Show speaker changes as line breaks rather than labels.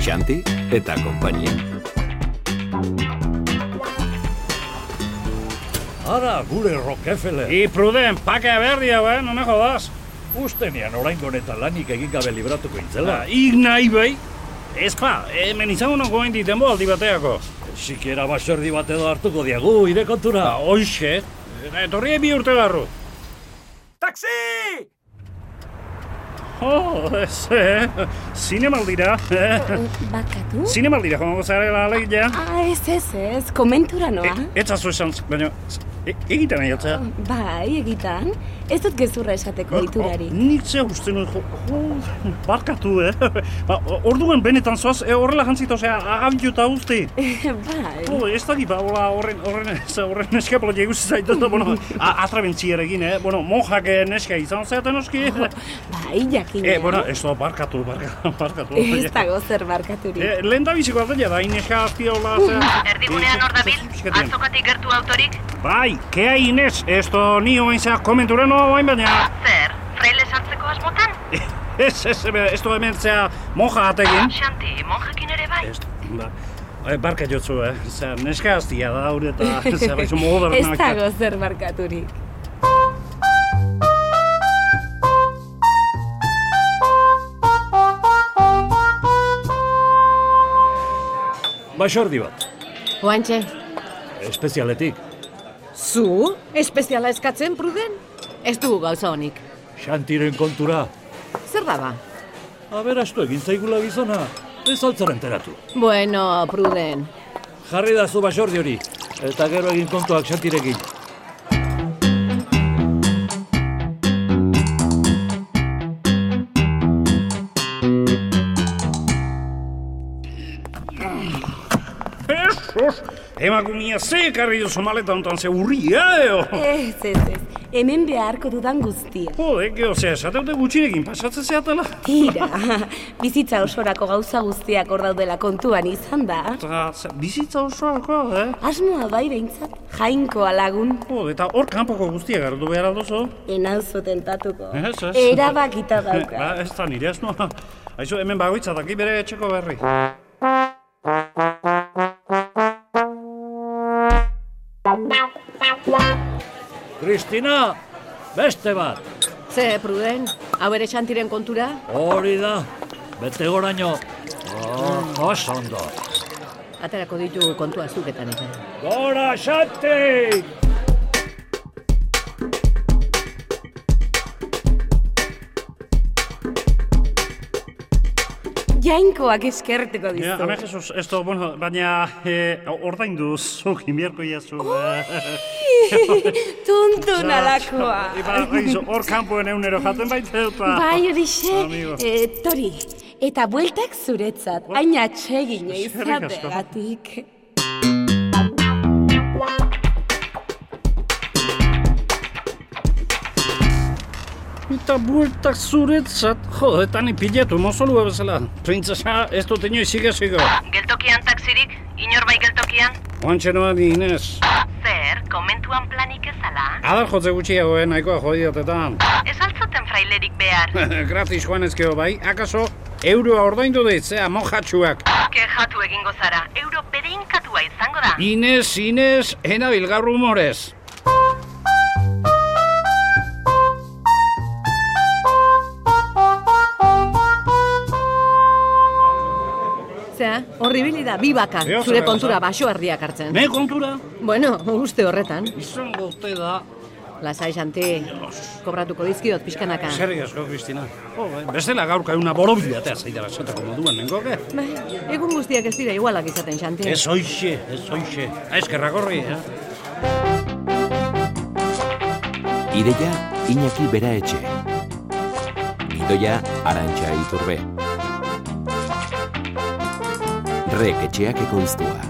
Santi eta konpainia.
Ara, gure Rockefeller.
Y Pruden, pake berri hau, eh? No me jodas.
Usten ean orain honetan lanik egin gabe libratuko intzela.
Ik nahi bai. Ez pa, hemen izango nago hain diten aldi bateako.
Sikiera baserdi bat edo hartuko diagu, ire kontura.
Ba, hoxe. Eh, Etorri bi urte barru.
Taxi!
Oh, ez, eh? Zinemaldira, eh?
Bakatu?
Zinemaldira, jongo zarela alegia.
Ah, ez, ez, ez, komentura noa.
Ez azu esan, baina, e- egiten nahi atzea.
Bai, egitan. Ez dut gezurra esateko diturari.
Nik ze uste nuen, jo, jo, barkatu, eh? Ba, orduen benetan zoaz, e, horrela jantzit, osea, agamituta uste.
bai.
Jo, ez dakit, ba, hola, horren, horren, ez- horren eskapela jeguzi zaitut, da, bueno, a- atrabentziarekin, eh? Bueno, monjak eh, neska izan zeaten oski.
Bai, jakina.
Eh, bueno, ez da, barkatu, barkatu, barkatu.
Ez dago zer barkaturik.
Eh, lehen da biziko bat da, ineska azpia hola, zea.
Erdigunean hor dabil,
Zuzketean.
azokatik gertu autorik,
Bai, kea Ines, esto ni oain zea komentura noa oain baina.
zer, fraile sartzeko asmotan?
Ez, ez, ez da hemen zea monja ategin.
Xanti, monjekin ere bai.
Ez, ba, eh, barka jotzu, eh, zea neska aztia da, hori eta zea baizu modu
Ez dago zer barkaturik.
Ba,
Baserdi bat,
Oantxe,
espezialetik.
zu? Espeziala eskatzen, pruden? Ez dugu gauza honik.
Xantiren kontura.
Zer da ba?
Aberastu egin zaigula gizona. Ez altzaren teratu.
Bueno, pruden.
Jarri da zu basordi hori. Eta gero egin kontuak xantirekin.
Jesus! Emakumia ze karri duzu maleta honetan ze eh, urria, eo!
Ez, ez, ez. Hemen beharko dudan guztia.
Jode, geho, zea, esateute gutxirekin pasatzen zeatela.
Tira, bizitza osorako gauza guztiak hor daudela kontuan izan da.
Eta ze- bizitza osoako, eh?
Asmoa bai behintzat, jainkoa lagun,
Jode, eta hor kanpoko guztia gardu behar aldozu.
enauzo tentatuko.
Ez, ez.
Erabakita
Eh,
dauka.
Ba, ez da nire asmoa. Aizu, hemen bagoitza daki bere etxeko berri.
Kristina, beste bat.
Ze, pruden? Hau ere xantiren kontura?
Hori da, bete goraino. Oh, oso ondo.
Aterako ditu kontua zuketan eta.
Gora xanti!
Jainkoak eskertuko
Ja,
dizu.
Hame Jesus, ez da, bueno, baina eh, ordaindu zuk eh. imierko iazu.
Uh, Tuntun alakoa.
Iba, aizu, hor kanpoen eunero jaten baita eta...
Bai, horixe,
Amigo.
eh, tori. Eta bueltak zuretzat, hain atxegin
Eskerrik asko.
izategatik.
Eta bueltak zuretzat, jo, eta ni pilatu mozolua bezala. Printzesa ez dut inoiz igasiko.
Geltokian taxirik, inor bai geltokian,
Oantxe noa ni Inez.
zer, komentuan planik ezala?
Adar jotze gutxiago, eh, nahikoa jodiatetan.
Ez altzuten frailerik behar,
Gratis joan ezkeo bai, akaso euroa ordaindu eh, deit, zea mojatxuak.
kejatu egingo zara, euro bere inkatua izango da.
Inez, Inez, enabil gaur humorez.
Zea, horribili da, bi baka,
Eo,
zure
zer
kontura
gauza.
baso herriak hartzen.
Ne kontura?
Bueno, uste horretan.
Izango uste da.
Lasai, Xanti, kobratuko dizkiot pixkanaka.
Zerrik asko, Kristina. Jo, eh, bestela gaurka euna borobila eta zaitara esateko moduan, nengoke?
Bai, egun guztiak ez dira igualak izaten, Xanti.
Ez hoixe, ez hoixe. Eskerrak horri, eh?
Ireia Iñaki Bera Etxe. Gidoia Arantxa Iturbe. Rek etxeak ekoiztua.